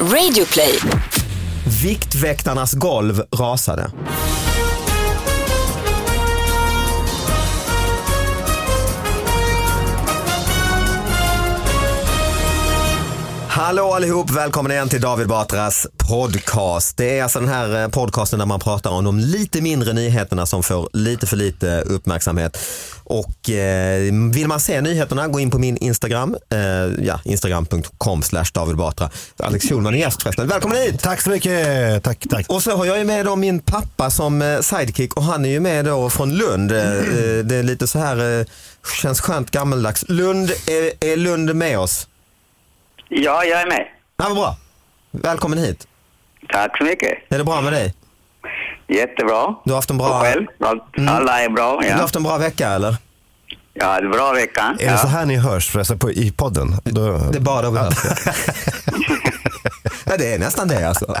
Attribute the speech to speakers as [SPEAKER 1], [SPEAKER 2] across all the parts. [SPEAKER 1] Radio play.
[SPEAKER 2] Viktväktarnas golv rasade. Hallå allihop, välkomna igen till David Batras podcast. Det är alltså den här eh, podcasten där man pratar om de lite mindre nyheterna som får lite för lite uppmärksamhet. Och eh, vill man se nyheterna, gå in på min Instagram, eh, ja, instagram.com slash David Batra. Alex Schulman är gäst förresten. Välkommen hit!
[SPEAKER 3] Tack så mycket. Tack, tack.
[SPEAKER 2] Och så har jag ju med då min pappa som eh, sidekick och han är ju med då från Lund. Eh, eh, Det är lite så här, eh, känns skönt gammaldags. Lund, är, är Lund med oss?
[SPEAKER 4] Ja, jag är med.
[SPEAKER 2] Ja, vad bra. Välkommen hit.
[SPEAKER 4] Tack så mycket.
[SPEAKER 2] Är det bra med dig?
[SPEAKER 4] Jättebra.
[SPEAKER 2] Du har haft en bra- Mm.
[SPEAKER 4] Och själv? Allt- Alla är bra,
[SPEAKER 2] Du har
[SPEAKER 4] ja.
[SPEAKER 2] haft en bra vecka eller?
[SPEAKER 4] Ja, en bra vecka.
[SPEAKER 3] Är det så
[SPEAKER 4] Ja.
[SPEAKER 3] här ni hörs förresten på, i podden? Då,
[SPEAKER 2] Det är bara det vi hör. ja, det är nästan det alltså.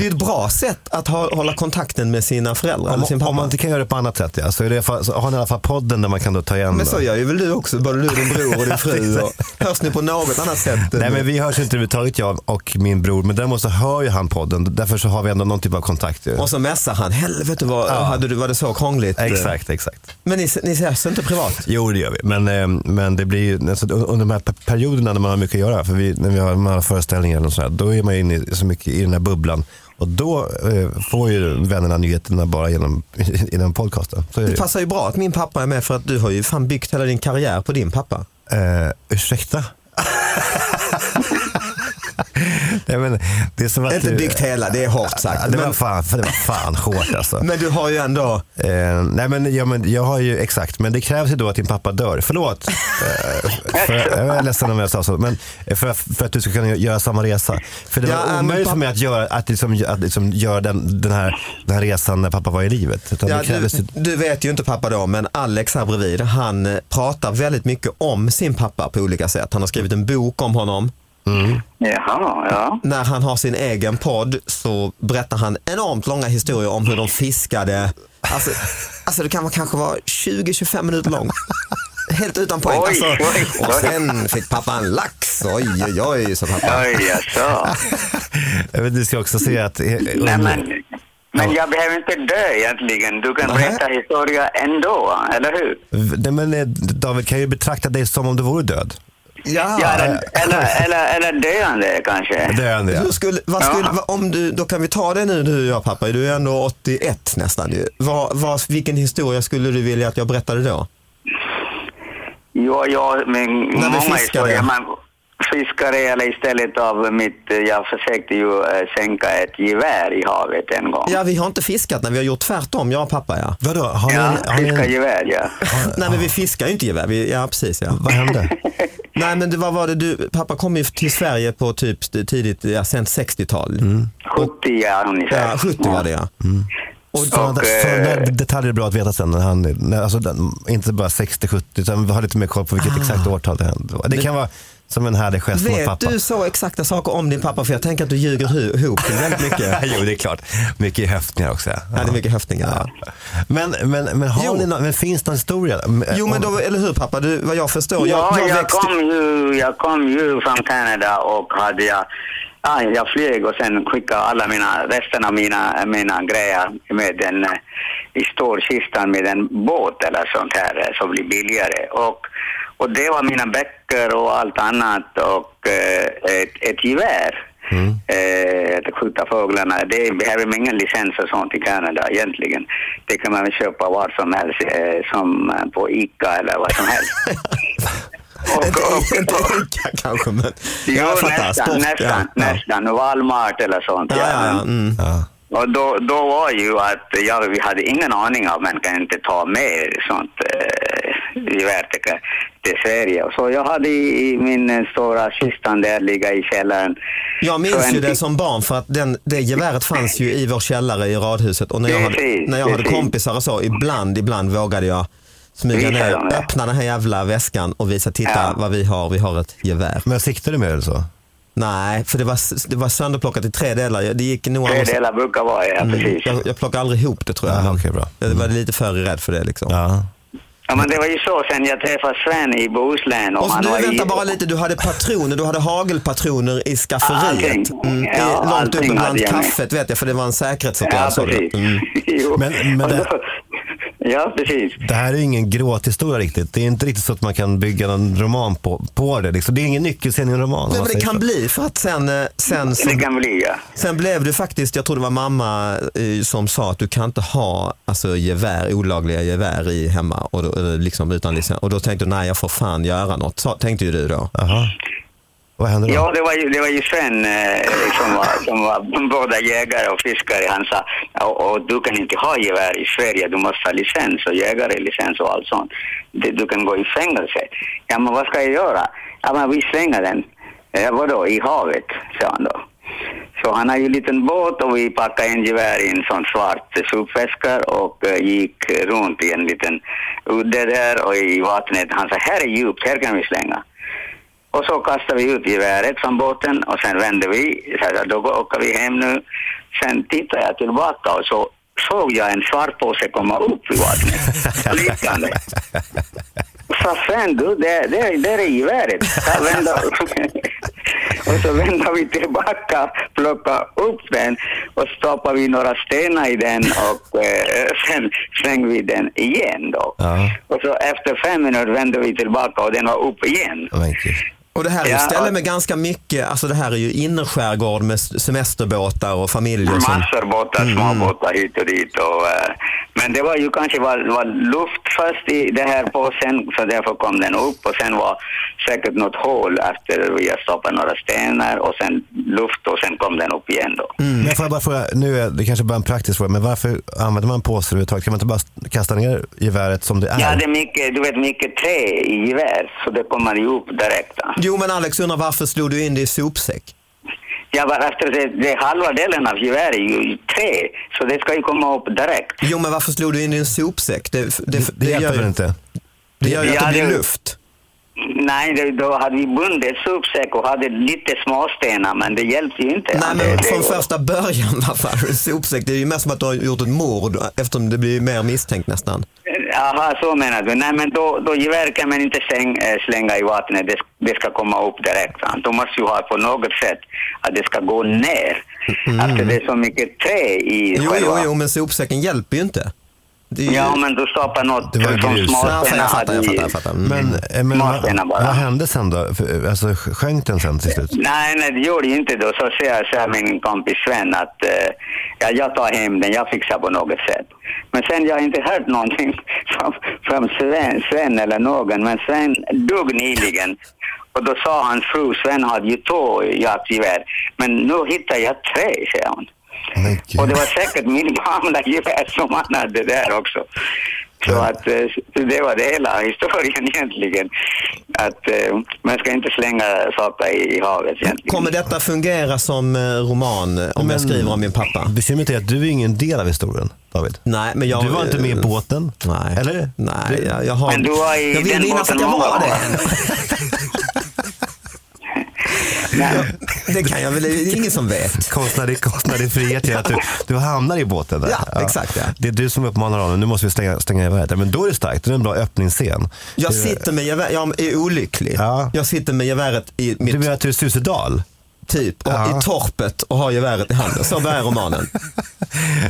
[SPEAKER 2] Det är ett bra sätt att ha, hålla kontakten med sina föräldrar eller sin
[SPEAKER 3] om,
[SPEAKER 2] pappa.
[SPEAKER 3] om man inte kan göra det på annat sätt ja, så, är det, i alla fall- så har ni i alla fall podden där man kan då ta igen.
[SPEAKER 2] Men
[SPEAKER 3] då.
[SPEAKER 2] så gör ju väl du också, både du, din bror och din fru. Och, hörs ni på något annat sätt?
[SPEAKER 3] Nej men vi hörs inte överhuvudtaget jag och min bror, men däremot så hör ju han podden. Därför så har vi ändå någon typ av kontakt ju.
[SPEAKER 2] Och så messar han, helvete vad, hade du, var det så krångligt?
[SPEAKER 3] Exakt, exakt.
[SPEAKER 2] Men ni, ni ses inte privat?
[SPEAKER 3] Jo det gör vi, men, eh, men det blir ju, alltså, under de här pe- perioderna när man har mycket att göra, för vi, när vi har de här föreställningar och sådär, då är man ju inne i- så mycket i den här bubblan. Och då eh, får ju vännerna nyheterna bara genom, genom podcasten. Så är det
[SPEAKER 2] Det
[SPEAKER 3] ju.
[SPEAKER 2] passar ju bra att min pappa är med för att du har ju fan byggt hela din karriär på din pappa.
[SPEAKER 3] Eh, ursäkta? Nej, men det är som att
[SPEAKER 2] Inte
[SPEAKER 3] du-
[SPEAKER 2] byggt hela, det är hårt sagt.
[SPEAKER 3] Ja, Det var
[SPEAKER 2] Men-
[SPEAKER 3] fan, det var fan hårt alltså.
[SPEAKER 2] Men du har ju ändå,
[SPEAKER 3] Eh, nej men, ja, men jag har ju exakt, men det krävs ju då att din pappa dör. Förlåt. Eh, för, jag är ledsen om jag sa så. Men för, för att du ska kunna göra samma resa. För det
[SPEAKER 2] Ja, men
[SPEAKER 3] var omöjligt
[SPEAKER 2] pappa-
[SPEAKER 3] för mig att göra, att liksom, att liksom göra den, den, här, den här resan när pappa var i livet. Utan
[SPEAKER 2] ja,
[SPEAKER 3] det krävdes
[SPEAKER 2] du,
[SPEAKER 3] ju,
[SPEAKER 2] du vet ju inte pappa då, men Alex här bredvid, han eh, pratar väldigt mycket om sin pappa på olika sätt. Han har skrivit en bok om honom.
[SPEAKER 4] Jaha, ja.
[SPEAKER 2] När han har sin egen podd så berättar han enormt långa historier om hur de fiskade. Alltså, alltså det kan vara, kanske vara 20-25 minuter lång. Helt utan poäng.
[SPEAKER 4] Oj,
[SPEAKER 2] Alltså,
[SPEAKER 4] oj, oj.
[SPEAKER 2] och sen fick pappa en lax. Oj, oj, oj, sa pappa.
[SPEAKER 4] Oj, jaså.
[SPEAKER 3] jag vet, du ska också se att... eh,
[SPEAKER 4] Nej,
[SPEAKER 3] om-
[SPEAKER 4] men, men jag behöver inte dö egentligen. Du kan berätta historia ändå, eller hur?
[SPEAKER 3] Nej, men eh, David kan ju betrakta dig som om du vore död.
[SPEAKER 2] Ja,
[SPEAKER 4] Ja, eller, eller, eller, eller döende kanske.
[SPEAKER 3] Döende ja.
[SPEAKER 2] Hur skulle, vad skulle,
[SPEAKER 4] Ja.
[SPEAKER 2] vad- om du, då kan vi ta det nu du och jag pappa, du är ändå 81 nästan ju. Vad, vad, vilken historia skulle du vilja att jag berättade då?
[SPEAKER 4] Jo, ja, men
[SPEAKER 2] vi
[SPEAKER 4] många
[SPEAKER 2] fiskade.
[SPEAKER 4] historier. Man fiskade eller istället av mitt... eh, Jag försökte ju eh, sänka ett gevär i havet en gång.
[SPEAKER 2] Ja, vi har inte fiskat när vi har gjort tvärtom, jag och pappa ja.
[SPEAKER 3] Vadå, har ni
[SPEAKER 4] Ja,
[SPEAKER 3] en, har ni
[SPEAKER 4] fiska
[SPEAKER 3] en,
[SPEAKER 4] gevär, ja.
[SPEAKER 2] Nej men vi fiskar ju inte gevär, vi, ja precis ja.
[SPEAKER 3] vad hände?
[SPEAKER 2] Nej men det, vad var det du, pappa kom ju till Sverige på typ tidigt, ja sent 60-tal.
[SPEAKER 4] 70 ja, ungefär.
[SPEAKER 2] Ja, 70 var det ja.
[SPEAKER 3] Och sådana
[SPEAKER 4] Och,
[SPEAKER 3] där- sådana där
[SPEAKER 4] eh,
[SPEAKER 3] detaljer är bra att veta sen. När han, när, alltså, den, inte bara 60-70 utan vi har lite mer koll på vilket exakt årtal det hände. Det kan vara Som en härlig gest mot
[SPEAKER 2] Ah. Vet
[SPEAKER 3] pappa.
[SPEAKER 2] du så exakta saker om din pappa? För jag tänker att du ljuger hu- ihop till väldigt mycket.
[SPEAKER 3] jo, det är klart. Mycket höftningar också. Ja.
[SPEAKER 2] Ja, det är mycket höftningar. Ja.
[SPEAKER 3] Men, men, men,
[SPEAKER 2] Jo.
[SPEAKER 3] har ni nå- men finns det en historia?
[SPEAKER 2] Jo men då, eller hur pappa? Du, vad jag förstår.
[SPEAKER 4] Ja, jag,
[SPEAKER 2] växte-
[SPEAKER 4] kom ju, jag kom ju från Kanada och hade jag, ja, jag flög och sen skickade alla mina, resten av mina, mina grejer med den eh, i stålkistan med en båt eller sånt här eh, som blir billigare. Och, och det var mina böcker och allt annat och eh, ett, ett gevär. Eh, att skjuta fåglarna. Det behöver man ingen licens och sånt i Kanada egentligen. Det kan man väl köpa var som helst, eh, som eh, på ICA eller vad som helst. Och,
[SPEAKER 2] Inte-
[SPEAKER 4] och,
[SPEAKER 2] Inte Ica kanske men.
[SPEAKER 4] jo,
[SPEAKER 2] jag fattar.
[SPEAKER 4] nästan,
[SPEAKER 2] Sport,
[SPEAKER 4] nästan,
[SPEAKER 2] ja.
[SPEAKER 4] nästan. Walmart eller sånt.
[SPEAKER 2] Ja, ja, ja. Mm.
[SPEAKER 3] Ja.
[SPEAKER 4] Och då, då var ju att jag, vi hade ingen aning om man kan inte ta med sånt eh, gevär till, till Sverige. Så jag hade i, i min eh, stora kistan där, ligga i källaren.
[SPEAKER 2] Jag minns
[SPEAKER 4] Så
[SPEAKER 2] ju
[SPEAKER 4] en-
[SPEAKER 2] det som barn för att den, det geväret fanns ju i vår källare i radhuset och när jag hade,
[SPEAKER 4] Precis,
[SPEAKER 2] när jag hade
[SPEAKER 4] precis.
[SPEAKER 2] kompisar och så, ibland, ibland vågade jag smyga
[SPEAKER 4] Visa dem
[SPEAKER 2] ner,
[SPEAKER 4] det.
[SPEAKER 2] öppna den här jävla väskan och visa, titta
[SPEAKER 4] Ja.
[SPEAKER 2] vad vi har, vi har ett gevär.
[SPEAKER 3] Men siktar du med det eller så?
[SPEAKER 2] Nej, för det var, s- det var sönderplockat i tre delar. Jag- Det gick nog
[SPEAKER 4] Tre delar brukar vara, ja precis.
[SPEAKER 2] Mm. jag, jag plockade aldrig ihop det tror jag.
[SPEAKER 3] Ja,
[SPEAKER 2] men
[SPEAKER 3] Ah, okej, Mm. bra.
[SPEAKER 2] Jag var lite för rädd för det liksom.
[SPEAKER 3] Ja.
[SPEAKER 4] Ja, men det var ju så sen jag träffade Sven i Bohuslän.
[SPEAKER 2] Och så
[SPEAKER 4] han
[SPEAKER 2] nu
[SPEAKER 4] var i-
[SPEAKER 2] vänta bara lite, Alltså, du hade patroner, du hade hagelpatroner i
[SPEAKER 4] Allting.
[SPEAKER 2] skafferiet. Mm, i-
[SPEAKER 4] Ja,
[SPEAKER 2] långt
[SPEAKER 4] allting
[SPEAKER 2] upp
[SPEAKER 4] hade
[SPEAKER 2] bland
[SPEAKER 4] jag med.
[SPEAKER 2] kaffet vet jag, för det var en säkerhetsåtgärd
[SPEAKER 4] Ja,
[SPEAKER 2] sa du.
[SPEAKER 4] precis.
[SPEAKER 2] Mm.
[SPEAKER 4] Jo.
[SPEAKER 3] Men- men
[SPEAKER 4] Och
[SPEAKER 3] det-
[SPEAKER 4] då- Ja, precis.
[SPEAKER 3] Det här är ju ingen gråthistoria riktigt. Det är inte riktigt så att man kan bygga någon roman på, på det. Liksom. Det är ingen nyckelscen i en roman. om
[SPEAKER 2] Nej,
[SPEAKER 3] man
[SPEAKER 2] men det
[SPEAKER 3] säger
[SPEAKER 2] kan
[SPEAKER 3] så.
[SPEAKER 2] bli för att sen, eh, sen, så,
[SPEAKER 4] Det kan bli, ja.
[SPEAKER 2] sen blev du faktiskt, jag tror det var mamma eh, som sa att du kan inte ha alltså, gevär, olagliga gevär i hemma och då, eller liksom utan licens. Och då tänkte du nej jag får fan göra något, så, tänkte ju du då.
[SPEAKER 3] Jaha. Vad händer då?
[SPEAKER 2] Mm.
[SPEAKER 4] Ja, det var ju, det var ju Sven eh, som, var, som var både jägare och fiskare. Han sa, och, och du kan inte ha gevär i Sverige, du måste ha licens och jägarlicens och allt sånt. Det, du kan gå i fängelse. Ja, men vad ska jag göra? Ja, men vi slänger den. Ja, vadå, i havet, sa han då. Så han har ju en liten båt och vi packade en gevär i en sån svart sopväska och eh, gick runt i en liten udde där och i vattnet. Han sa, här är djupt, här kan vi slänga. Och så kastade vi ut geväret från båten och sen vände vi. Så här, Då går- åker vi hem nu. Sen tittade jag tillbaka och så såg jag en svartpåse komma upp i vattnet. Flytande. Sa Sven, du, det, det, det är geväret. Så vände, och så vände vi tillbaka, plockade upp den och stoppade vi några stenar i den och eh, sen slängde vi den igen då.
[SPEAKER 3] Ja.
[SPEAKER 4] Och så efter fem minuter vände vi tillbaka och den var upp igen.
[SPEAKER 3] Men gud.
[SPEAKER 2] Och det här är ju
[SPEAKER 4] Ja,
[SPEAKER 2] ställe
[SPEAKER 4] och-
[SPEAKER 2] med ganska mycket, alltså det här är ju innerskärgård med s- semesterbåtar och Mm. familjer som...
[SPEAKER 4] Massor båtar, små båtar hit och dit. Och, eh, men det var ju kanske var, var luft först i det här påsen, så därför kom den upp. Och sen var säkert något hål efter vi har stoppat några stenar och sen luft och sen kom den upp igen då.
[SPEAKER 2] Mm.
[SPEAKER 3] Men får jag bara fråga, nu är det kanske bara en praktisk fråga, men varför använder man påsar överhuvudtaget? Kan man inte bara kasta ner geväret som det är?
[SPEAKER 4] Jag hade mycket, du vet, mycket trä i gevär, så det kommer ju upp direkt. va.
[SPEAKER 2] Jo men Alex undrar varför slog du in det i sopsäck?
[SPEAKER 4] Jag var efter det, det halva delen av geväret är ju trä, så det ska ju komma upp direkt.
[SPEAKER 2] Jo men varför slog du in det i en sopsäck? Det, det, det,
[SPEAKER 3] det, det hjälper
[SPEAKER 2] gör
[SPEAKER 3] väl
[SPEAKER 2] ju,
[SPEAKER 3] inte?
[SPEAKER 2] det gör ju att
[SPEAKER 4] Ja,
[SPEAKER 2] det blir
[SPEAKER 4] det-
[SPEAKER 2] luft.
[SPEAKER 4] Nej, det- då hade vi bundit sopsäck och hade lite småstenar, men det hjälpte ju inte.
[SPEAKER 2] Nej
[SPEAKER 4] Det-
[SPEAKER 2] men
[SPEAKER 4] det-
[SPEAKER 2] från första början varför har du en sopsäck? Det är ju mer som att du har gjort ett mord eftersom det blir mer misstänkt nästan.
[SPEAKER 4] Jaha, så menar du. Nej, men då, då gevär kan man inte släng, eh, slänga i vattnet. Det, det ska komma upp direkt. Va? Då måste ju ha på något sätt att det ska gå ner. Att det är så mycket trä i
[SPEAKER 2] Mm. Jo,
[SPEAKER 4] själva...
[SPEAKER 2] jo, jo men sopsäcken hjälper ju inte. Det är ju...
[SPEAKER 4] Ja, men du stoppar något
[SPEAKER 3] Det var
[SPEAKER 4] som
[SPEAKER 3] grus.
[SPEAKER 2] Ja, fan,
[SPEAKER 4] småstenar.
[SPEAKER 2] jag fattar, jag
[SPEAKER 4] i-
[SPEAKER 2] fattar, jag fattar. Mm.
[SPEAKER 3] Men, eh, men vad,
[SPEAKER 4] Smaken är bara.
[SPEAKER 3] vad hände sen då? För, eh, Alltså, sjönk den sen till slut?
[SPEAKER 4] Nej, nej, det gjorde ju inte då. Så säger så här min kompis Sven att eh, ja, jag tar hem den, jag fixar på något sätt. Men sen jag har inte hört någonting från, från Sven, Sven eller någon, men Sven dog nyligen. Och då sa hans fru, Sven hade ju två jaktgevär, men nu hittar jag tre, säger hon.
[SPEAKER 3] Men
[SPEAKER 4] Och det
[SPEAKER 3] gud.
[SPEAKER 4] var säkert min gamla gevär som han hade där också. Så att eh, det var det hela historien egentligen. Att eh, man ska inte slänga saker i i havet egentligen.
[SPEAKER 2] Kommer detta fungera som eh, roman eh, om jag skriver om min pappa?
[SPEAKER 3] Bekymret är att du är ingen del av historien, David.
[SPEAKER 2] Nej, men jag...
[SPEAKER 3] du var inte med i båten?
[SPEAKER 2] Nej.
[SPEAKER 3] Eller?
[SPEAKER 2] Nej,
[SPEAKER 3] Du-
[SPEAKER 2] jag, jag har...
[SPEAKER 4] Men du var i
[SPEAKER 2] jag vill
[SPEAKER 4] den
[SPEAKER 2] minnas
[SPEAKER 4] båten
[SPEAKER 2] att jag
[SPEAKER 4] många
[SPEAKER 2] var
[SPEAKER 4] år.
[SPEAKER 2] det. Det kan jag väl, det är ingen som vet.
[SPEAKER 3] Konstnärlig, konstnärlig frihet är att du, du hamnar i båten. Där.
[SPEAKER 2] Ja, exakt, ja.
[SPEAKER 3] Det är du som uppmanar honom, nu måste vi stänga, stänga geväret. Ja, Men då är det starkt, det är en bra öppningsscen.
[SPEAKER 2] Jag
[SPEAKER 3] Det-
[SPEAKER 2] sitter med geväret, jag är olycklig.
[SPEAKER 3] Ja.
[SPEAKER 2] Jag sitter med geväret i
[SPEAKER 3] Du
[SPEAKER 2] mitt
[SPEAKER 3] menar att du är suicidal?
[SPEAKER 2] typ, och
[SPEAKER 3] Ja.
[SPEAKER 2] i torpet och har geväret i handen. Så börjar romanen.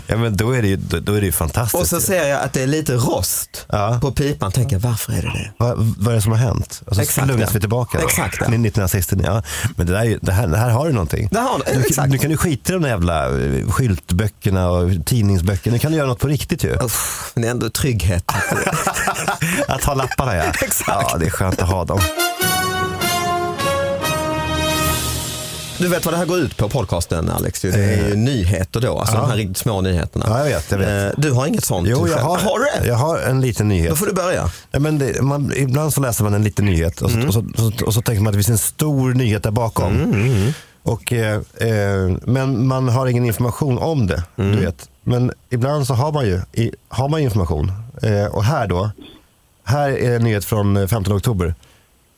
[SPEAKER 3] Ja, men då är det ju, då, då är det ju fantastiskt.
[SPEAKER 2] Och så ser jag att det är lite rost
[SPEAKER 3] Ja.
[SPEAKER 2] på pipan. Tänker jag, varför är det det?
[SPEAKER 3] Vad, vad är det som har hänt? Och så
[SPEAKER 2] Exakt,
[SPEAKER 3] lugnas
[SPEAKER 2] ja.
[SPEAKER 3] vi tillbaka. Då.
[SPEAKER 2] Exakt, ja.
[SPEAKER 3] Till 1969. Ja. Men det, där, är ju- det, här, det här har du någonting.
[SPEAKER 2] Där har du-
[SPEAKER 3] nu,
[SPEAKER 2] exakt.
[SPEAKER 3] nu kan du skita i de där jävla eh, skyltböckerna och tidningsböckerna. Nu kan du göra något på riktigt ju.
[SPEAKER 2] Uff, men ändå trygghet.
[SPEAKER 3] Att ha lapparna ja.
[SPEAKER 2] Exakt.
[SPEAKER 3] Ja, det är skönt att ha dem.
[SPEAKER 2] Du vet vad det här går ut på podcasten Alex? ju. Det är ju nyheter då, alltså
[SPEAKER 3] Eh. ja.
[SPEAKER 2] de här riktigt små nyheterna.
[SPEAKER 3] Ja, jag vet, jag vet.
[SPEAKER 2] Eh, Du har inget sånt?
[SPEAKER 3] Jo,
[SPEAKER 2] själv?
[SPEAKER 3] jag har,
[SPEAKER 2] har du det?
[SPEAKER 3] jag har en liten nyhet.
[SPEAKER 2] Då får du börja.
[SPEAKER 3] Ja, men det, man, ibland så läser man en liten nyhet och så,
[SPEAKER 2] Mm.
[SPEAKER 3] och, så, och, så, och så tänker man att det finns en stor nyhet där bakom.
[SPEAKER 2] mm,
[SPEAKER 3] Och, eh, eh, men man har ingen information om det.
[SPEAKER 2] Mm.
[SPEAKER 3] Du vet. Men ibland så har man ju i, har man ju information. Eh, och här då. Här är en nyhet från eh, 15 oktober.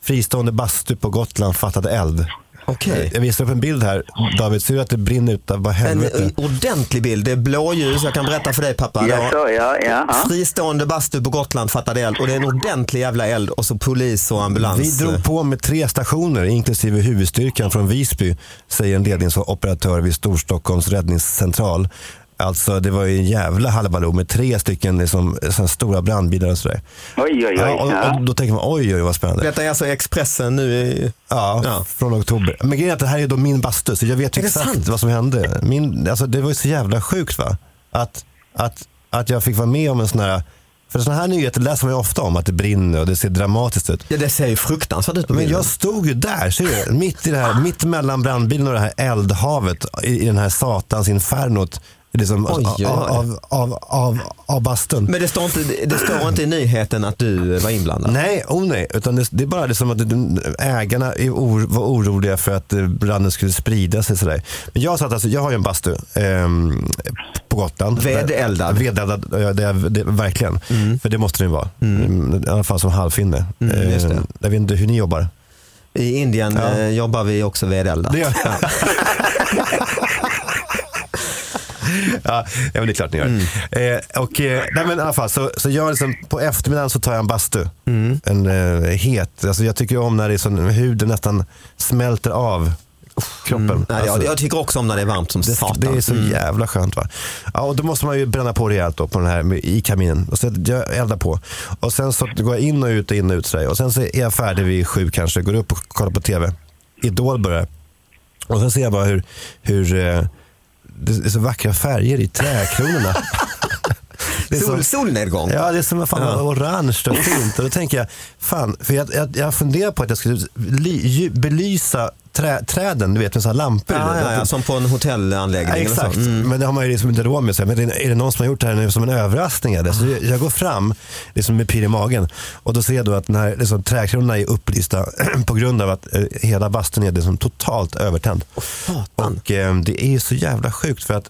[SPEAKER 3] Fristående bastu på Gotland fattade eld.
[SPEAKER 2] Okej.
[SPEAKER 3] Jag visar upp en bild här. David, ser du att det brinner utav vad
[SPEAKER 2] En
[SPEAKER 3] helvete?
[SPEAKER 2] ordentlig bild. Det är blåljus. Jag kan berätta för dig pappa. Det
[SPEAKER 4] Ja,
[SPEAKER 2] var
[SPEAKER 4] så, ja, ja. ja.
[SPEAKER 2] Fristående bastu på Gotland fattade eld och det är en ordentlig jävla eld och så polis och ambulans.
[SPEAKER 3] Vi drog på med tre stationer inklusive huvudstyrkan från Visby, säger en ledningsoperatör vid Storstockholms räddningscentral. Alltså det var ju en jävla halabaloo med tre stycken liksom, såna stora brandbilar och sådär.
[SPEAKER 4] Oj, oj,
[SPEAKER 3] Ja,
[SPEAKER 4] oj.
[SPEAKER 3] och, och
[SPEAKER 4] Ja.
[SPEAKER 3] då tänker man oj, oj vad spännande.
[SPEAKER 2] Detta är alltså Expressen nu. i-
[SPEAKER 3] Ja,
[SPEAKER 2] Ja.
[SPEAKER 3] från oktober. Men grejen är att det här är då min bastu, så jag vet ju
[SPEAKER 2] Är det
[SPEAKER 3] exakt
[SPEAKER 2] sant?
[SPEAKER 3] vad som hände. Min, alltså, det var ju så jävla sjukt va? Att, att, att jag fick vara med om en sån här, för sådana här nyheter läser man ju ofta om, att det brinner och det ser dramatiskt ut.
[SPEAKER 2] Ja, det ser ju fruktansvärt ut på
[SPEAKER 3] Men
[SPEAKER 2] bilden.
[SPEAKER 3] jag stod ju där, ser du? Mitt, i det här, mitt mellan brandbilen och det här eldhavet i, i den här satans infernot. Liksom,
[SPEAKER 2] Oj, oj, oj.
[SPEAKER 3] Av, av, av, av, av bastun.
[SPEAKER 2] Men det står, inte, det står inte i nyheten att du var inblandad?
[SPEAKER 3] Nej, oh nej. Utan det, det är bara det som att det- ägarna är or, var oroliga för att eh, branden skulle sprida sig. Sådär. Men jag, satt, alltså, jag har ju en bastu ehm, på Gotland.
[SPEAKER 2] Vedeldad.
[SPEAKER 3] Vedeldad, ja, det, är- det, verkligen. För det måste den ju vara. Mm, I alla fall som halvfinne.
[SPEAKER 2] Mm, just det.
[SPEAKER 3] Eh, jag vet inte hur ni jobbar.
[SPEAKER 2] I Indien
[SPEAKER 3] Ja.
[SPEAKER 2] eh, jobbar vi också vedeldat.
[SPEAKER 3] Det gör jag. Ja, ja, men det är klart ni gör. Eh, och, eh, nej, men i alla fall, så, så jag liksom, på eftermiddagen så tar jag en bastu. En eh, het. Alltså, jag tycker ju om när det är sån, huden nästan smälter av kroppen.
[SPEAKER 2] Nej, jag,
[SPEAKER 3] Alltså,
[SPEAKER 2] jag tycker också om när Mm. det är varmt som
[SPEAKER 3] det,
[SPEAKER 2] satan. Mm.
[SPEAKER 3] det är så jävla skönt. Va? Ja, och då måste man ju bränna på rejält då, på den här, med- i kaminen. Och så jag eldar på. Och sen så går jag in och ut och in och ut. sådär. Och sen så är jag färdig vid sju kanske. Går upp och kollar på TV. Idol börjar. Och sen ser jag bara hur, hur eh, det är så vackra färger i träkronorna. Det är så-
[SPEAKER 2] Sol, solnedgång.
[SPEAKER 3] Ja, det är som fan,
[SPEAKER 2] Ja.
[SPEAKER 3] orange och fint. Och då tänker jag, fan, för jag, jag, jag funderar på att jag skulle ly, ju- belysa trä, träden, du vet med sådana lampor.
[SPEAKER 2] Ja, ja, ja, som på en hotellanläggning.
[SPEAKER 3] Ja,
[SPEAKER 2] eller så.
[SPEAKER 3] exakt,
[SPEAKER 2] Mm.
[SPEAKER 3] men det har man ju liksom inte råd med. Så här, Men är det- är det någon som har gjort det här nu som en överraskning? Eller? Så jag- jag går fram liksom med pirr i magen och då ser jag då att den här liksom, träkronorna är upplysta på grund av att eh, hela bastun är liksom totalt övertänd. och eh, det är ju så jävla sjukt för att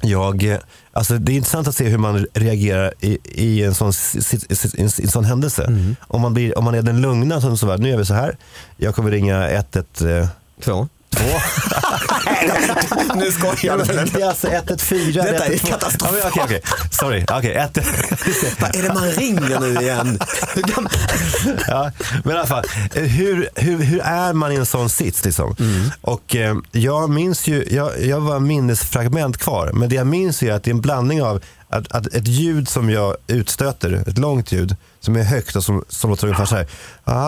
[SPEAKER 3] Jag, eh, alltså det är intressant att se hur man reagerar i, i, en, sån, si- si- si- i en sån händelse.
[SPEAKER 2] Mm.
[SPEAKER 3] Om, man blir, om man är den eh, lugna som så här, nu gör vi så här. Jag kommer ringa 112.
[SPEAKER 2] Två. nu skojar du.
[SPEAKER 3] Det är alltså 114.
[SPEAKER 2] Detta är katastrof.
[SPEAKER 3] Okej, okej. Sorry. Okej, ett...
[SPEAKER 2] Vad är det man ringer nu igen? Hur gam-
[SPEAKER 3] ja, men i alla fall, eh, hur, hur, hur är man i en sån sits? Liksom? Och, eh, jag minns ju, jag, jag var minnesfragment kvar, men det jag minns är att det är en blandning av att, att ett ljud som jag utstöter, ett långt ljud, som är högt och som, som låter ungefär så här. Ah,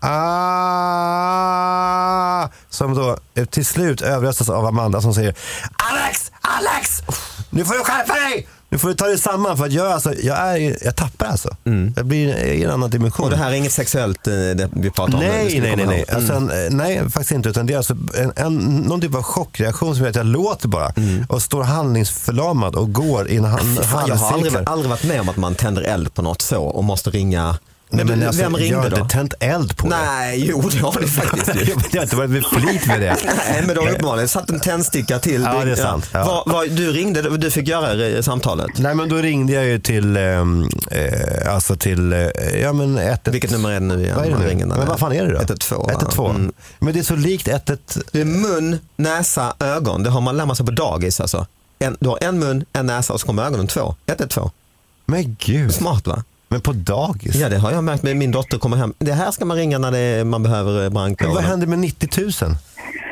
[SPEAKER 3] ah, ah, som då eh, till slut överröstas av Amanda som säger Alex, Alex! Nu får du skärpa dig! Nu får du ta dig samman för att jag, alltså, jag, är, jag tappar alltså. Jag blir i en annan dimension.
[SPEAKER 2] Mm. Och det här är inget sexuellt eh, det vi pratar om? Det
[SPEAKER 3] Nej,
[SPEAKER 2] ska
[SPEAKER 3] nej,
[SPEAKER 2] komma
[SPEAKER 3] nej. Nej.
[SPEAKER 2] ihåg. Mm.
[SPEAKER 3] Alltså, en- eh, nej, faktiskt inte. Utan det är alltså en, en, någon typ av chockreaktion som gör att jag låter bara. Och står handlingsförlamad och går i en han-
[SPEAKER 2] Mm. Fan, jag har aldrig,
[SPEAKER 3] handcirkel.
[SPEAKER 2] aldrig varit med om att man tänder eld på något så och måste ringa.
[SPEAKER 3] Nej, men
[SPEAKER 2] vem
[SPEAKER 3] alltså, jag
[SPEAKER 2] ringde
[SPEAKER 3] har
[SPEAKER 2] då?
[SPEAKER 3] inte tänt eld på det.
[SPEAKER 2] Nej, jo det har ni faktiskt.
[SPEAKER 3] Jag har inte varit vid flit med det.
[SPEAKER 2] Nej, men då uppenbarligen satt en tändsticka till.
[SPEAKER 3] Ja, det är sant. Ja.
[SPEAKER 2] Vad- vad- du ringde, du fick göra det i samtalet.
[SPEAKER 3] Nej men då ringde jag ju till, ehm, eh, alltså till, eh, ja men 112.
[SPEAKER 2] Vilket nummer är det nu igen?
[SPEAKER 3] Vad är det
[SPEAKER 2] Man
[SPEAKER 3] nu?
[SPEAKER 2] ringer när
[SPEAKER 3] men vad fan är det då?
[SPEAKER 2] 112.
[SPEAKER 3] 112.
[SPEAKER 2] Mm.
[SPEAKER 3] Men det är så likt 112.
[SPEAKER 2] Det är mun, näsa, ögon. Det har man lärt sig på dagis alltså. En, du har en mun, en näsa och så kommer ögonen två. Ett, ett, två.
[SPEAKER 3] Men gud.
[SPEAKER 2] Smart va?
[SPEAKER 3] Men på dagis?
[SPEAKER 2] Ja det har jag märkt med min dotter kommer hem. Det här ska man ringa när det är, man behöver eh,
[SPEAKER 3] Men
[SPEAKER 2] brandkåren.
[SPEAKER 3] vad händer med 90 000?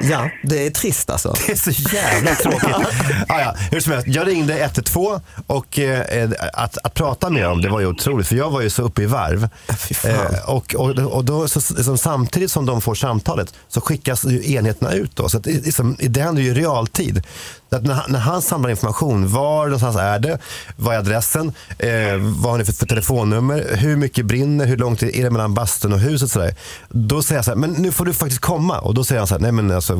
[SPEAKER 2] Ja, det är trist alltså.
[SPEAKER 3] Det är så jävla tråkigt. ah, ja. Hur som helst, jag ringde 112 och eh, att, att prata med dem det var ju otroligt för jag var ju så uppe i varv. Eh,
[SPEAKER 2] fy fan.
[SPEAKER 3] och och, och då, så, så, samtidigt som de får samtalet så skickas ju enheterna ut. Då, så att, det- liksom, det händer ju i realtid. Så att när, han- när han samlar information, var någonstans är det? Vad är adressen? Eh, vad har ni för, för telefonnummer? Hur mycket brinner? Hur långt är det mellan bastun och huset? Så där. Då säger jag så här, men nu får du faktiskt komma. Och då säger han så här, nej men alltså,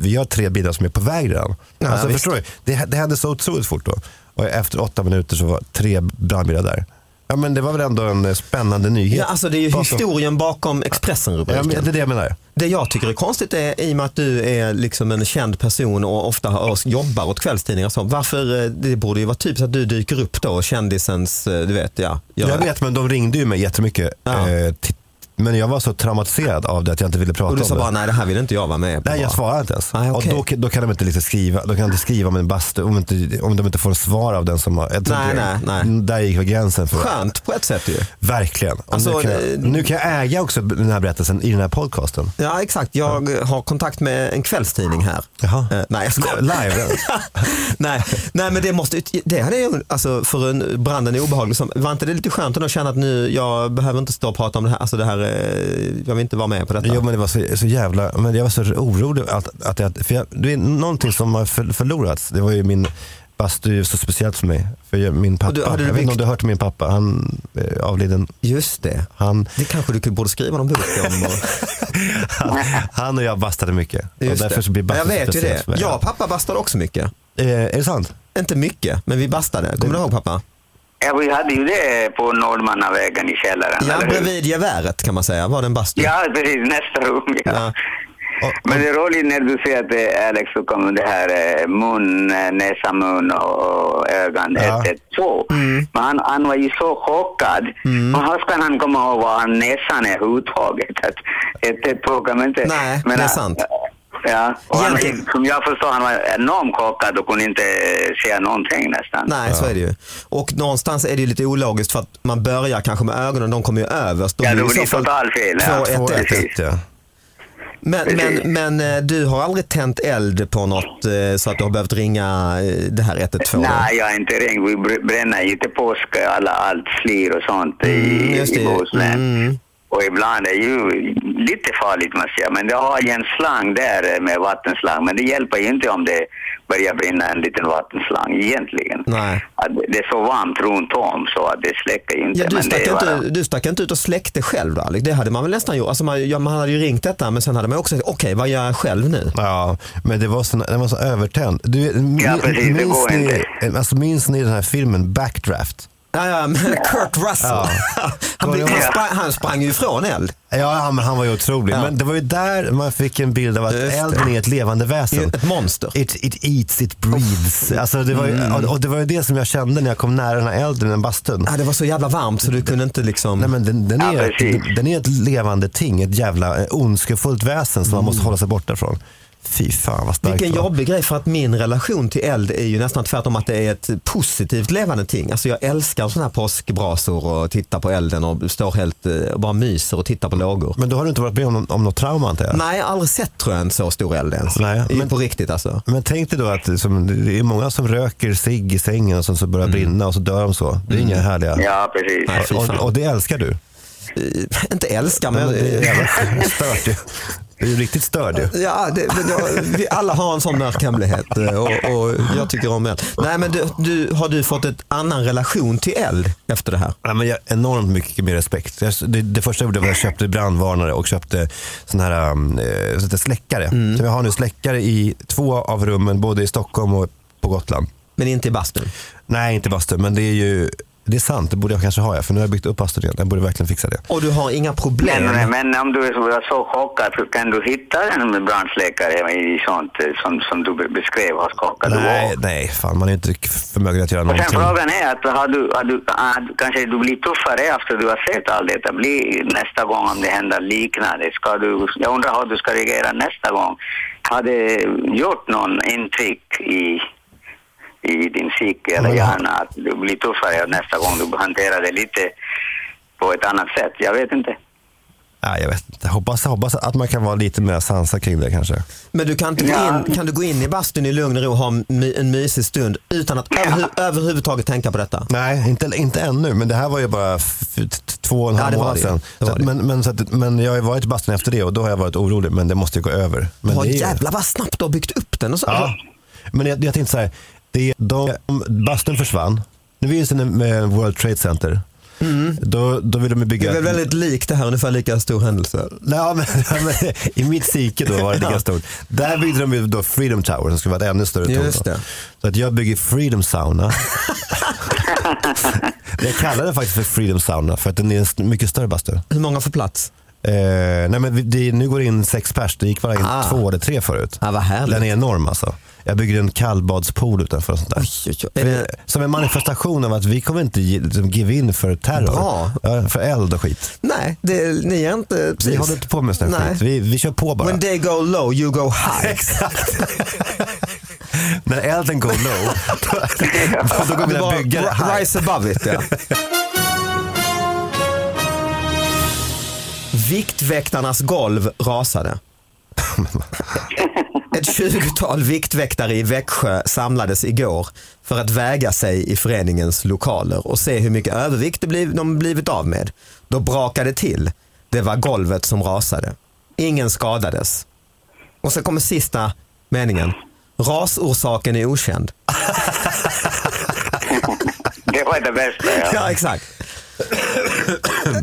[SPEAKER 3] vi har tre bilar som är på väg redan.
[SPEAKER 2] Ja,
[SPEAKER 3] alltså,
[SPEAKER 2] visst.
[SPEAKER 3] förstår du? Det, det hände så otroligt fort då. Och efter åtta minuter så var tre brandbilar där. Ja men det var väl ändå en eh, spännande nyhet.
[SPEAKER 2] Ja, alltså det är ju
[SPEAKER 3] Bakom-
[SPEAKER 2] historien bakom Expressen-rubriken.
[SPEAKER 3] Ja, men det är det jag menar.
[SPEAKER 2] Det jag tycker är konstigt är i och med att du är liksom en känd person och ofta har- och jobbar åt kvällstidningar och så. Varför, eh, det borde ju vara typiskt att du dyker upp då, kändisens, eh, du vet, ja.
[SPEAKER 3] Jag, vet men de ringde ju mig jättemycket.
[SPEAKER 2] Ja.
[SPEAKER 3] Eh, ti- men jag var så traumatiserad av det att jag inte ville prata
[SPEAKER 2] Och
[SPEAKER 3] om
[SPEAKER 2] du sa
[SPEAKER 3] det.
[SPEAKER 2] bara, nej det här vill inte jag vara med på.
[SPEAKER 3] Nej jag
[SPEAKER 2] bara."
[SPEAKER 3] svarar inte ens.
[SPEAKER 2] Nej, okej.
[SPEAKER 3] Och då, då kan de inte liksom skriva, de kan inte skriva om en bastu om, inte, om de inte får svar av den som har... jag tror
[SPEAKER 2] Nej,
[SPEAKER 3] inte-
[SPEAKER 2] nej, nej.
[SPEAKER 3] Där gick väl gränsen. För
[SPEAKER 2] Skönt på ett sätt ju.
[SPEAKER 3] Verkligen. Och
[SPEAKER 2] Alltså,
[SPEAKER 3] nu, kan
[SPEAKER 2] eh,
[SPEAKER 3] jag, nu kan jag äga också den här berättelsen i den här podcasten.
[SPEAKER 2] Ja exakt, jag har kontakt med en kvällstidning här.
[SPEAKER 3] Jaha.
[SPEAKER 2] Eh, nej jag skojar.
[SPEAKER 3] Live.
[SPEAKER 2] nej, nej men det måste, ut- det hade jag, alltså för en branden är obehaglig, som, var inte det lite skönt att känna att nu, jag behöver inte stå och prata om det här, alltså det här, eh, jag vill inte vara med på detta.
[SPEAKER 3] Jo men det var så, så jävla, men jag var så orolig att, att jag, för jag, det är någonting som har för- förlorats. Det var ju min bastu är ju så speciellt för mig. För jag, min pappa,
[SPEAKER 2] du- hade du
[SPEAKER 3] jag vet inte om
[SPEAKER 2] byggt-
[SPEAKER 3] du har hört om min pappa, han eh, avliden.
[SPEAKER 2] Just det.
[SPEAKER 3] Han,
[SPEAKER 2] Det kanske du borde skriva någon bok om. Och...
[SPEAKER 3] han, han och jag bastade mycket.
[SPEAKER 2] Just
[SPEAKER 3] och därför så blir
[SPEAKER 2] det. Ja, jag
[SPEAKER 3] bastu
[SPEAKER 2] vet ju
[SPEAKER 3] speciellt
[SPEAKER 2] det.
[SPEAKER 3] för mig.
[SPEAKER 2] Jag och pappa bastade också mycket.
[SPEAKER 3] Eh, är det sant?
[SPEAKER 2] Inte mycket, men vi bastade. Kommer du ihåg pappa?
[SPEAKER 4] Ja, vi hade ju det på Nordmannavägen i källaren.
[SPEAKER 2] Ja,
[SPEAKER 4] eller hur?
[SPEAKER 2] bredvid geväret kan man säga var den bastu.
[SPEAKER 4] Ja, precis. Nästa rum. Ja.
[SPEAKER 2] Ja.
[SPEAKER 3] Och-
[SPEAKER 4] Men det är roligt när du säger att det är Alex så kommer det här eh, mun, eh, näsa, mun och ögon.
[SPEAKER 3] Ja.
[SPEAKER 4] Ett, ett, två.
[SPEAKER 2] Mm.
[SPEAKER 4] Men han, han var ju så chockad. Och hur ska han komma ihåg vad han näsan är överhuvudtaget? Att Ett, ett, två kan man inte...
[SPEAKER 2] Nej,
[SPEAKER 4] men,
[SPEAKER 2] det är
[SPEAKER 4] eh,
[SPEAKER 2] sant.
[SPEAKER 4] Ja, och han, var ju-
[SPEAKER 2] Egentligen-
[SPEAKER 4] som jag förstår han var enormt chockad och kunde inte säga någonting nästan.
[SPEAKER 2] Nej, så är det ju. Och någonstans är det ju lite ologiskt för att man börjar kanske med ögonen, de kommer ju överst. Då
[SPEAKER 4] Ja,
[SPEAKER 2] blir
[SPEAKER 4] då
[SPEAKER 2] det i
[SPEAKER 4] blir det
[SPEAKER 2] så fall
[SPEAKER 4] total fel. Ja.
[SPEAKER 2] två, ett, ett.
[SPEAKER 4] Precis.
[SPEAKER 3] Ett, ja.
[SPEAKER 2] Men, men, men eh, du har aldrig tänt eld på något eh, så att du har behövt ringa eh, det här 112? då?
[SPEAKER 4] Nej, jag har inte ringt. Vi br- bränner ju till påsk alla, allt slir och sånt
[SPEAKER 2] Mm,
[SPEAKER 4] i,
[SPEAKER 2] just
[SPEAKER 4] i
[SPEAKER 2] det.
[SPEAKER 4] Bohuslän.
[SPEAKER 2] Mm.
[SPEAKER 4] Och ibland är det ju lite farligt måste jag säga. Men jag har ju en slang där eh, med vattenslang. Men det hjälper ju inte om det börjar brinna en liten vattenslang egentligen.
[SPEAKER 2] Nej.
[SPEAKER 4] Att det- det är så varmt runt om så att det släcker ju inte.
[SPEAKER 2] Ja, du,
[SPEAKER 4] men det
[SPEAKER 2] stack
[SPEAKER 4] är bara-
[SPEAKER 2] inte, du stack inte ut och släckte själv då Alex? Det hade man väl nästan gjort? Alltså man, ja, man hade ju ringt detta men sen hade man också sagt, okej vad gör jag själv nu?
[SPEAKER 3] Ja, men det var så, den var så övertänd. Du, vet, min-
[SPEAKER 4] Ja, precis, det
[SPEAKER 3] minns,
[SPEAKER 4] går
[SPEAKER 3] ni,
[SPEAKER 4] inte.
[SPEAKER 3] alltså, minns ni den här filmen Backdraft?
[SPEAKER 2] Ja, ja, men Kurt Russell. Han, blev- han, sprang, han sprang ju ifrån eld.
[SPEAKER 3] Ja, han, han var ju otrolig. Men det var ju där man fick en bild av att elden är ett levande väsen.
[SPEAKER 2] Ett monster.
[SPEAKER 3] It, it eats, it breathes. Alltså, det var ju,
[SPEAKER 2] Mm.
[SPEAKER 3] och, och det var ju det som jag kände när jag kom nära den här elden i den bastun.
[SPEAKER 2] Ja, det var så jävla varmt så du kunde inte liksom...
[SPEAKER 3] Nej, men den, den,
[SPEAKER 2] Ja,
[SPEAKER 3] är,
[SPEAKER 2] precis.
[SPEAKER 3] den, den är ett levande ting, ett jävla eh, ondskefullt väsen som man måste hålla sig borta från. Fy fan vad starkt
[SPEAKER 2] Mm. Vilken
[SPEAKER 3] det var.
[SPEAKER 2] jobbig grej för att min relation till eld är ju nästan tvärtom att det är ett positivt levande ting. Alltså jag älskar sådana här påskbrasor och titta på elden och står helt eh, och bara myser och tittar på lågor.
[SPEAKER 3] Men då har du inte varit med om, om något trauma antar jag?
[SPEAKER 2] Nej, jag har aldrig sett tror jag en så stor eld ens. Nej, men, på riktigt alltså.
[SPEAKER 3] Men tänk dig då att som, det är många som röker cigg i sängen och sen så börjar brinna och så dör de så. Det är inga härliga.
[SPEAKER 4] Ja, precis.
[SPEAKER 2] Nej, Mm. fy fan.
[SPEAKER 3] och, och det älskar du?
[SPEAKER 2] Inte älskar men...
[SPEAKER 3] det är jävla stört ju. Det är ju riktigt störd ju.
[SPEAKER 2] Ja, det, men jag, vi alla har en sån mörk hemlighet eh, och, och jag tycker om eld. Nej men du, du, har du fått en annan relation till eld efter det här?
[SPEAKER 3] Ja, men jag, enormt mycket mer respekt. Jag, det, det första jag gjorde var att jag köpte brandvarnare och köpte sån här um, eh, sånt där släckare.
[SPEAKER 2] Mm.
[SPEAKER 3] Så jag har nu släckare i två av rummen, både i Stockholm och på Gotland.
[SPEAKER 2] Men inte i bastun?
[SPEAKER 3] Nej, inte i bastun. Men det är ju det är sant, det borde jag kanske ha. ja, För nu har jag byggt upp bastun igen. Jag borde verkligen fixa det.
[SPEAKER 2] Och du har inga problem?
[SPEAKER 4] Men, men om du var så chockad, hur kan du hitta en brandsläckare i sånt eh, som, som du be- beskrev hos kockar du var?
[SPEAKER 3] Nej, nej, fan man är ju inte förmögen att göra
[SPEAKER 4] Och sen
[SPEAKER 3] någonting.
[SPEAKER 4] frågan är att har du, har du, har, kanske du blir tuffare efter du har sett allt detta. Bli, nästa gång om det händer liknande. Ska du, jag undrar hur du ska reagera nästa gång. Har det gjort någon intryck i, i din psyke eller hjärna att du blir tuffare nästa gång du hanterar det lite på ett annat sätt? Jag vet inte.
[SPEAKER 3] Nej, jag vet inte. Hoppas, hoppas att man kan vara lite mer sansad kring det kanske.
[SPEAKER 2] Men du kan, inte gå in, kan du gå in i bastun i lugn och ro och ha my, en mysig stund utan att överhu, överhuvudtaget tänka på detta?
[SPEAKER 3] Nej, inte, inte ännu. Men det här var ju bara f- t- t- två och en
[SPEAKER 2] Ja,
[SPEAKER 3] halv
[SPEAKER 2] det var
[SPEAKER 3] månad
[SPEAKER 2] det.
[SPEAKER 3] sedan.
[SPEAKER 2] Det var
[SPEAKER 3] Så att-
[SPEAKER 2] det.
[SPEAKER 3] Men, men, så att, men jag har ju varit i bastun efter det och då har jag varit orolig. Men det måste ju gå över. Men
[SPEAKER 2] Vad
[SPEAKER 3] det är ju-
[SPEAKER 2] jävlar vad snabbt du har byggt upp den. Och så, Alltså,
[SPEAKER 3] Ja. Men jag, jag tänkte så här. Det är de, om bastun försvann. Nu finns det en- med eh, World Trade Center. Då, då vill de ju
[SPEAKER 2] Mm. Det
[SPEAKER 3] bygga...
[SPEAKER 2] är väl väldigt likt det här, ungefär lika stor händelse.
[SPEAKER 3] Ja, men, men I mitt psyke då var det lika
[SPEAKER 2] Ja.
[SPEAKER 3] stort. Där byggde de ju då Freedom Tower som skulle vara ett ännu större torn.
[SPEAKER 2] Just
[SPEAKER 3] då.
[SPEAKER 2] det.
[SPEAKER 3] Så att jag bygger Freedom Sauna. jag kallar den faktiskt för Freedom Sauna för att den är en st- mycket större bastu.
[SPEAKER 2] Hur många får plats?
[SPEAKER 3] Eh, nej men vi- det, nu går det in sex pers, det gick bara in
[SPEAKER 2] Ah.
[SPEAKER 3] två eller tre förut.
[SPEAKER 2] Ja, vad härligt.
[SPEAKER 3] Den är enorm alltså. Jag bygger en kallbadspool utanför och sånt där.
[SPEAKER 2] Oj, oj, oj.
[SPEAKER 3] För det, som en manifestation av att vi kommer inte ge, liksom, give in för terror.
[SPEAKER 2] Bra.
[SPEAKER 3] Ja, för eld och skit.
[SPEAKER 2] Nej, det, ni är inte... Precis.
[SPEAKER 3] Vi håller inte på med sån här
[SPEAKER 2] Nej.
[SPEAKER 3] skit. Vi, vi kör på bara.
[SPEAKER 2] When they go low, you go high.
[SPEAKER 3] När elden går low, då, då, då går
[SPEAKER 2] Det
[SPEAKER 3] mina
[SPEAKER 2] var
[SPEAKER 3] byggare
[SPEAKER 2] ri-
[SPEAKER 3] high.
[SPEAKER 2] Rise above it, ja. Viktväktarnas golv rasade. Ett tjugotal viktväktare i Växjö samlades igår för att väga sig i föreningens lokaler och se hur mycket övervikt de bliv- de blivit av med. Då brakade det till. Det var golvet som rasade. Ingen skadades. Och så kommer sista meningen. Rasorsaken är okänd.
[SPEAKER 4] Det var det bästa.
[SPEAKER 2] Ja, exakt.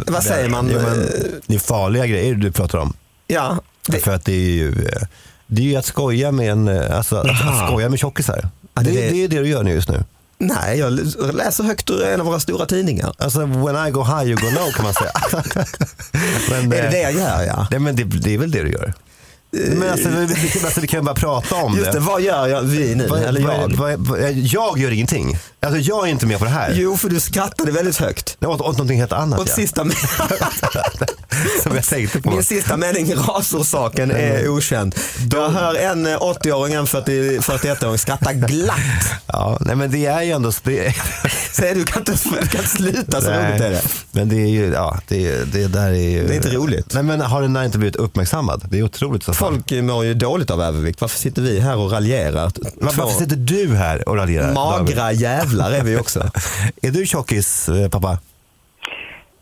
[SPEAKER 2] Vad säger man?
[SPEAKER 3] Jo, men, det är farliga grejer du pratar om.
[SPEAKER 2] Ja, det,
[SPEAKER 3] För att det är ju eh, det är ju att skoja med en, eh, alltså, att-
[SPEAKER 2] Jaha.
[SPEAKER 3] att skoja med tjockisar.
[SPEAKER 2] Ja,
[SPEAKER 3] det,
[SPEAKER 2] det-
[SPEAKER 3] det, är ju det du gör nu just nu.
[SPEAKER 2] nej, jag läser högt ur en av våra stora tidningar.
[SPEAKER 3] Alltså when I go high you go low kan man säga. men,
[SPEAKER 2] Är det
[SPEAKER 3] eh,
[SPEAKER 2] det jag gör? Ja.
[SPEAKER 3] Nej, men det, det är väl det du gör.
[SPEAKER 2] Eh,
[SPEAKER 3] Men alltså, vi, vi, alltså, vi kan ju bara prata om
[SPEAKER 2] Just det, vad gör jag, vi nu?
[SPEAKER 3] Vad-
[SPEAKER 2] eller
[SPEAKER 3] vad-
[SPEAKER 2] jag?
[SPEAKER 3] vad- vad- jag gör ingenting. Alltså, jag är inte med på det här.
[SPEAKER 2] Jo, för du skrattade väldigt högt.
[SPEAKER 3] Jag åt, åt någonting helt annat.
[SPEAKER 2] Och
[SPEAKER 3] ja.
[SPEAKER 2] sista, me-
[SPEAKER 3] Som jag tänkte på.
[SPEAKER 2] min sista mening, rasorsaken, är okänd. Jag hör en eh, 80-åring och en 40 41-åring skratta glatt.
[SPEAKER 3] Ja, nej, men det är ju ändå... Det,
[SPEAKER 2] Säger du kan inte, du kan inte sluta, så roligt är det.
[SPEAKER 3] Men det är ju, ja, det, är- det där är ju...
[SPEAKER 2] Det är inte roligt.
[SPEAKER 3] Nej men har den där inte blivit uppmärksammad? Det är otroligt så fall.
[SPEAKER 2] Folk mår ju dåligt av övervikt. Varför sitter vi här och raljerar?
[SPEAKER 3] Var, varför
[SPEAKER 2] Två
[SPEAKER 3] sitter du här och raljerar? David?
[SPEAKER 2] Magra jävlar är vi
[SPEAKER 3] Mm.
[SPEAKER 2] också.
[SPEAKER 3] Är du tjockis eh, pappa?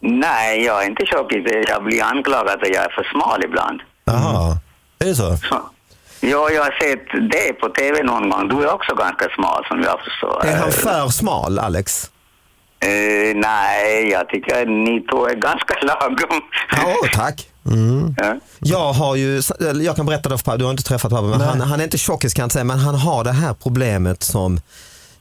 [SPEAKER 4] Nej, jag är inte tjockis. Jag blir anklagad att jag är för smal ibland.
[SPEAKER 3] Jaha, är det så?
[SPEAKER 4] Så. Ja, jag har sett dig på TV någon gång. Du är också ganska smal som jag förstår.
[SPEAKER 2] Är
[SPEAKER 3] Eh.
[SPEAKER 2] han för smal, Alex?
[SPEAKER 4] Eh, nej, jag tycker att ni två är ganska lagom.
[SPEAKER 2] Ja, åh, tack.
[SPEAKER 4] Ja.
[SPEAKER 2] Jag har ju, eller jag kan berätta det för pappa, du har inte träffat pappa, men han, han är inte tjockis kan jag inte säga, men han har det här problemet som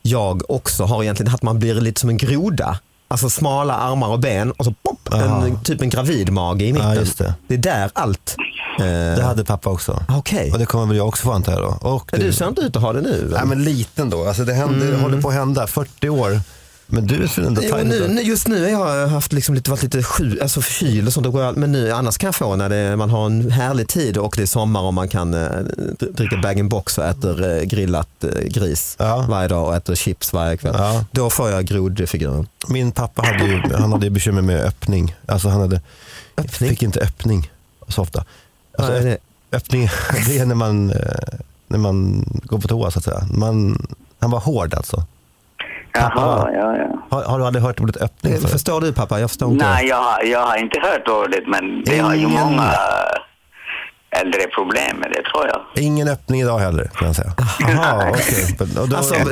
[SPEAKER 2] jag också har egentligen, att man blir lite som en groda. Alltså smala armar och ben och så pop, en, typ en gravid mage i mitten.
[SPEAKER 3] Ja, just det.
[SPEAKER 2] är där allt. eh,
[SPEAKER 3] Det hade pappa också.
[SPEAKER 2] Okej.
[SPEAKER 3] Och det kommer väl jag också få antar jag då. Och
[SPEAKER 2] Men Du ser inte ut att ha det nu.
[SPEAKER 3] Nej men liten då. Alltså det, händer, det håller på att hända. 40 år. Men du ser ändå
[SPEAKER 2] Jo,
[SPEAKER 3] tajt
[SPEAKER 2] nu,
[SPEAKER 3] ut.
[SPEAKER 2] nu- just nu har jag haft liksom lite, varit lite sju, alltså förkyld och sånt. Och går jag- men nu, annars kan jag få när det, man har en härlig tid och det är sommar och man kan eh, dr- dricka bag-in-box och äter eh, grillat eh, gris varje dag och äter chips varje kväll. Då får jag grodfiguren.
[SPEAKER 3] Min pappa hade ju, han hade ju bekymmer med öppning. Alltså han hade, fick inte öppning så ofta. Alltså,
[SPEAKER 2] Vad är det?
[SPEAKER 3] Öppning, det är när man, eh, när man går på toa så att säga. Man, han var hård alltså.
[SPEAKER 4] Jaha, ja, ja.
[SPEAKER 3] Har, har du aldrig hört ordet öppning? förut?
[SPEAKER 2] Eh, Förstår du pappa? Jag förstår inte.
[SPEAKER 4] Nej, jag har, jag har inte hört ordet, men det har ju
[SPEAKER 3] Ingen-
[SPEAKER 4] många äldre problem med det, tror jag.
[SPEAKER 3] Ingen öppning idag heller kan jag säga. Jaha, okej. Och då-
[SPEAKER 2] Alltså, eh,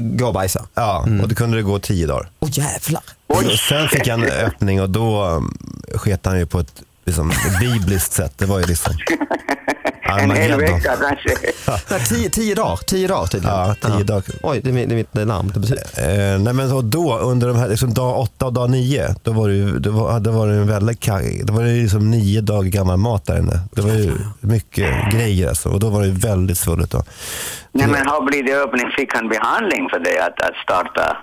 [SPEAKER 2] gå och bajsa. Mm.
[SPEAKER 3] Ja, och då kunde det gå tio dagar.
[SPEAKER 2] Åh jävlar.
[SPEAKER 3] Och Sen fick han öppning och då um, sket han ju på ett liksom, bibliskt sätt. Det var ju liksom
[SPEAKER 4] En hel
[SPEAKER 3] Armageddon.
[SPEAKER 4] vecka kanske.
[SPEAKER 2] Nej, tio, tio dagar, tio dagar tydligen.
[SPEAKER 3] Ja, tio dagar.
[SPEAKER 2] Oj, det är, mitt- det är mitt larm. Det betyder.
[SPEAKER 3] Eh, nej men och då under de här, liksom dag åtta och dag nio, då var det ju då var, då var det en väldigt kaj, då var det ju liksom nio dagar gammal mat där inne. Det var ju mycket grejer alltså, och då var det ju väldigt svullet. Då.
[SPEAKER 4] Nej, men har blivit öppning, fick han behandling för det, att, att starta?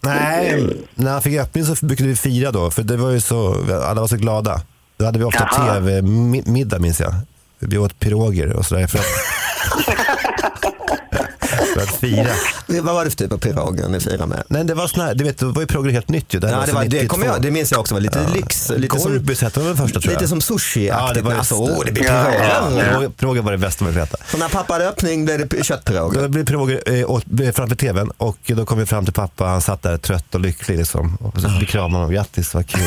[SPEAKER 3] Nej, när han fick öppning så brukade vi fira då, för det var ju så, alla var så glada. Då hade vi ofta
[SPEAKER 4] Jaha.
[SPEAKER 3] tv-middag minns jag. Vi åt piroger och sådär för att, för att fira.
[SPEAKER 2] Vad var det för typ av piroger ni firade med?
[SPEAKER 3] Nej, det var sån här, du vet, då var ju piroger helt nytt ju. Det, här
[SPEAKER 2] Ja, det,
[SPEAKER 3] så
[SPEAKER 2] var, det,
[SPEAKER 3] 92.
[SPEAKER 2] kommer jag, det minns jag också var lite
[SPEAKER 3] Alltså Ja.
[SPEAKER 2] lyx. Lite som,
[SPEAKER 3] Gorbis hette de den första tror jag.
[SPEAKER 2] lite som sushi
[SPEAKER 3] Ja, det var
[SPEAKER 2] alltså,
[SPEAKER 3] just det.
[SPEAKER 2] åh, det blir
[SPEAKER 4] Ja,
[SPEAKER 2] piroger.
[SPEAKER 3] Ja, piroger- Piroger var det bästa man fick äta.
[SPEAKER 2] Så när pappa hade öppning blev det p- köttpiroger.
[SPEAKER 3] Då blev piroger eh, åt- blev framför tvn och då kom vi fram till pappa. Han satt där trött och lycklig. Liksom. Och så vi kramade honom. Grattis, vad kul.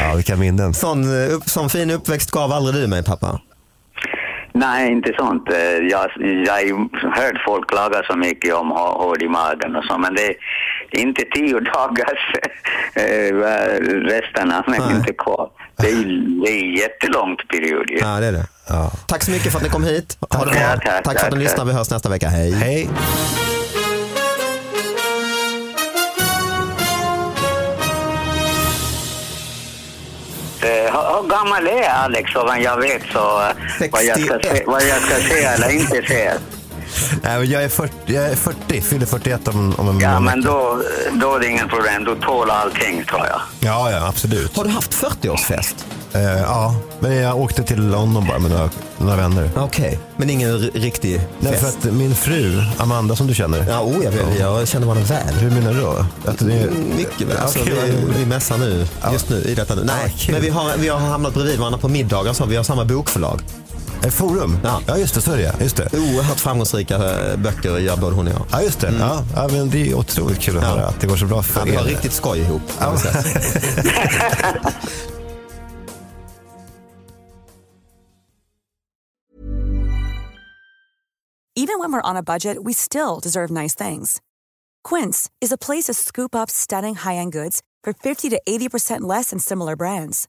[SPEAKER 3] ja, vilka minnen.
[SPEAKER 2] Sån, eh, upp, sån fin uppväxt gav aldrig du mig pappa.
[SPEAKER 4] Nej, inte sånt. Eh, Jag, jag har ju hört folk klaga så mycket om hå- hård i magen och så, men det är inte tio dagars eh, vad- resten av mig inte kvar. Det är ju det är en jättelångt period ju.
[SPEAKER 2] Ja, det är det.
[SPEAKER 3] Ja.
[SPEAKER 2] Tack så mycket för att ni kom hit. Ha det
[SPEAKER 4] Ja,
[SPEAKER 2] bra.
[SPEAKER 4] tack,
[SPEAKER 2] Tack för att
[SPEAKER 4] tack,
[SPEAKER 2] ni lyssnar. Vi hörs nästa vecka. Hej.
[SPEAKER 3] Hej.
[SPEAKER 4] Eh, Hur, hur gammal är Alex och vad jag vet så eh, vad jag, ska se,
[SPEAKER 2] 61.
[SPEAKER 4] vad jag ska se eller inte se.
[SPEAKER 3] Nej, men Äh, jag, är 40, jag är 40, fyller 41 om, om en
[SPEAKER 4] Ja,
[SPEAKER 3] månad.
[SPEAKER 4] men då, då är det ingen problem. Då tål allting tror jag.
[SPEAKER 3] Ja, ja, absolut.
[SPEAKER 2] Har du haft 40-årsfest?
[SPEAKER 3] Eh, ja, men jag åkte till London bara med några, några vänner.
[SPEAKER 2] Okej, men ingen r- riktig fest?
[SPEAKER 3] Nej, för att min fru, Amanda som du känner.
[SPEAKER 2] Ja, oh, jag, vet, jag känner varandra väl.
[SPEAKER 3] Hur menar du då? Att det är...
[SPEAKER 2] Mycket väl. Alltså,
[SPEAKER 3] Okej,
[SPEAKER 2] vi,
[SPEAKER 3] vad-
[SPEAKER 2] vi mässar nu,
[SPEAKER 3] Ja.
[SPEAKER 2] just nu, i detta nu. Nej,
[SPEAKER 3] kul.
[SPEAKER 2] men vi har, vi har hamnat bredvid varandra på middagar och så. Vi har samma bokförlag.
[SPEAKER 3] Eh, Forum?
[SPEAKER 2] Ja.
[SPEAKER 3] Ja. just det. Så är det ja. just det.
[SPEAKER 2] Oerhört framgångsrika eh, böcker gör både hon och jag. Mm.
[SPEAKER 3] Ja, just det. Ja. Ja, men det är otroligt kul att
[SPEAKER 2] Ja.
[SPEAKER 3] höra att det går så bra för
[SPEAKER 2] Ja, vi har
[SPEAKER 3] er.
[SPEAKER 2] riktigt skoj ihop. kan vi säga.
[SPEAKER 5] even when we're on a budget, we still deserve nice things. Quince is a place to scoop up stunning high-end goods for 50 to 80% less than similar brands.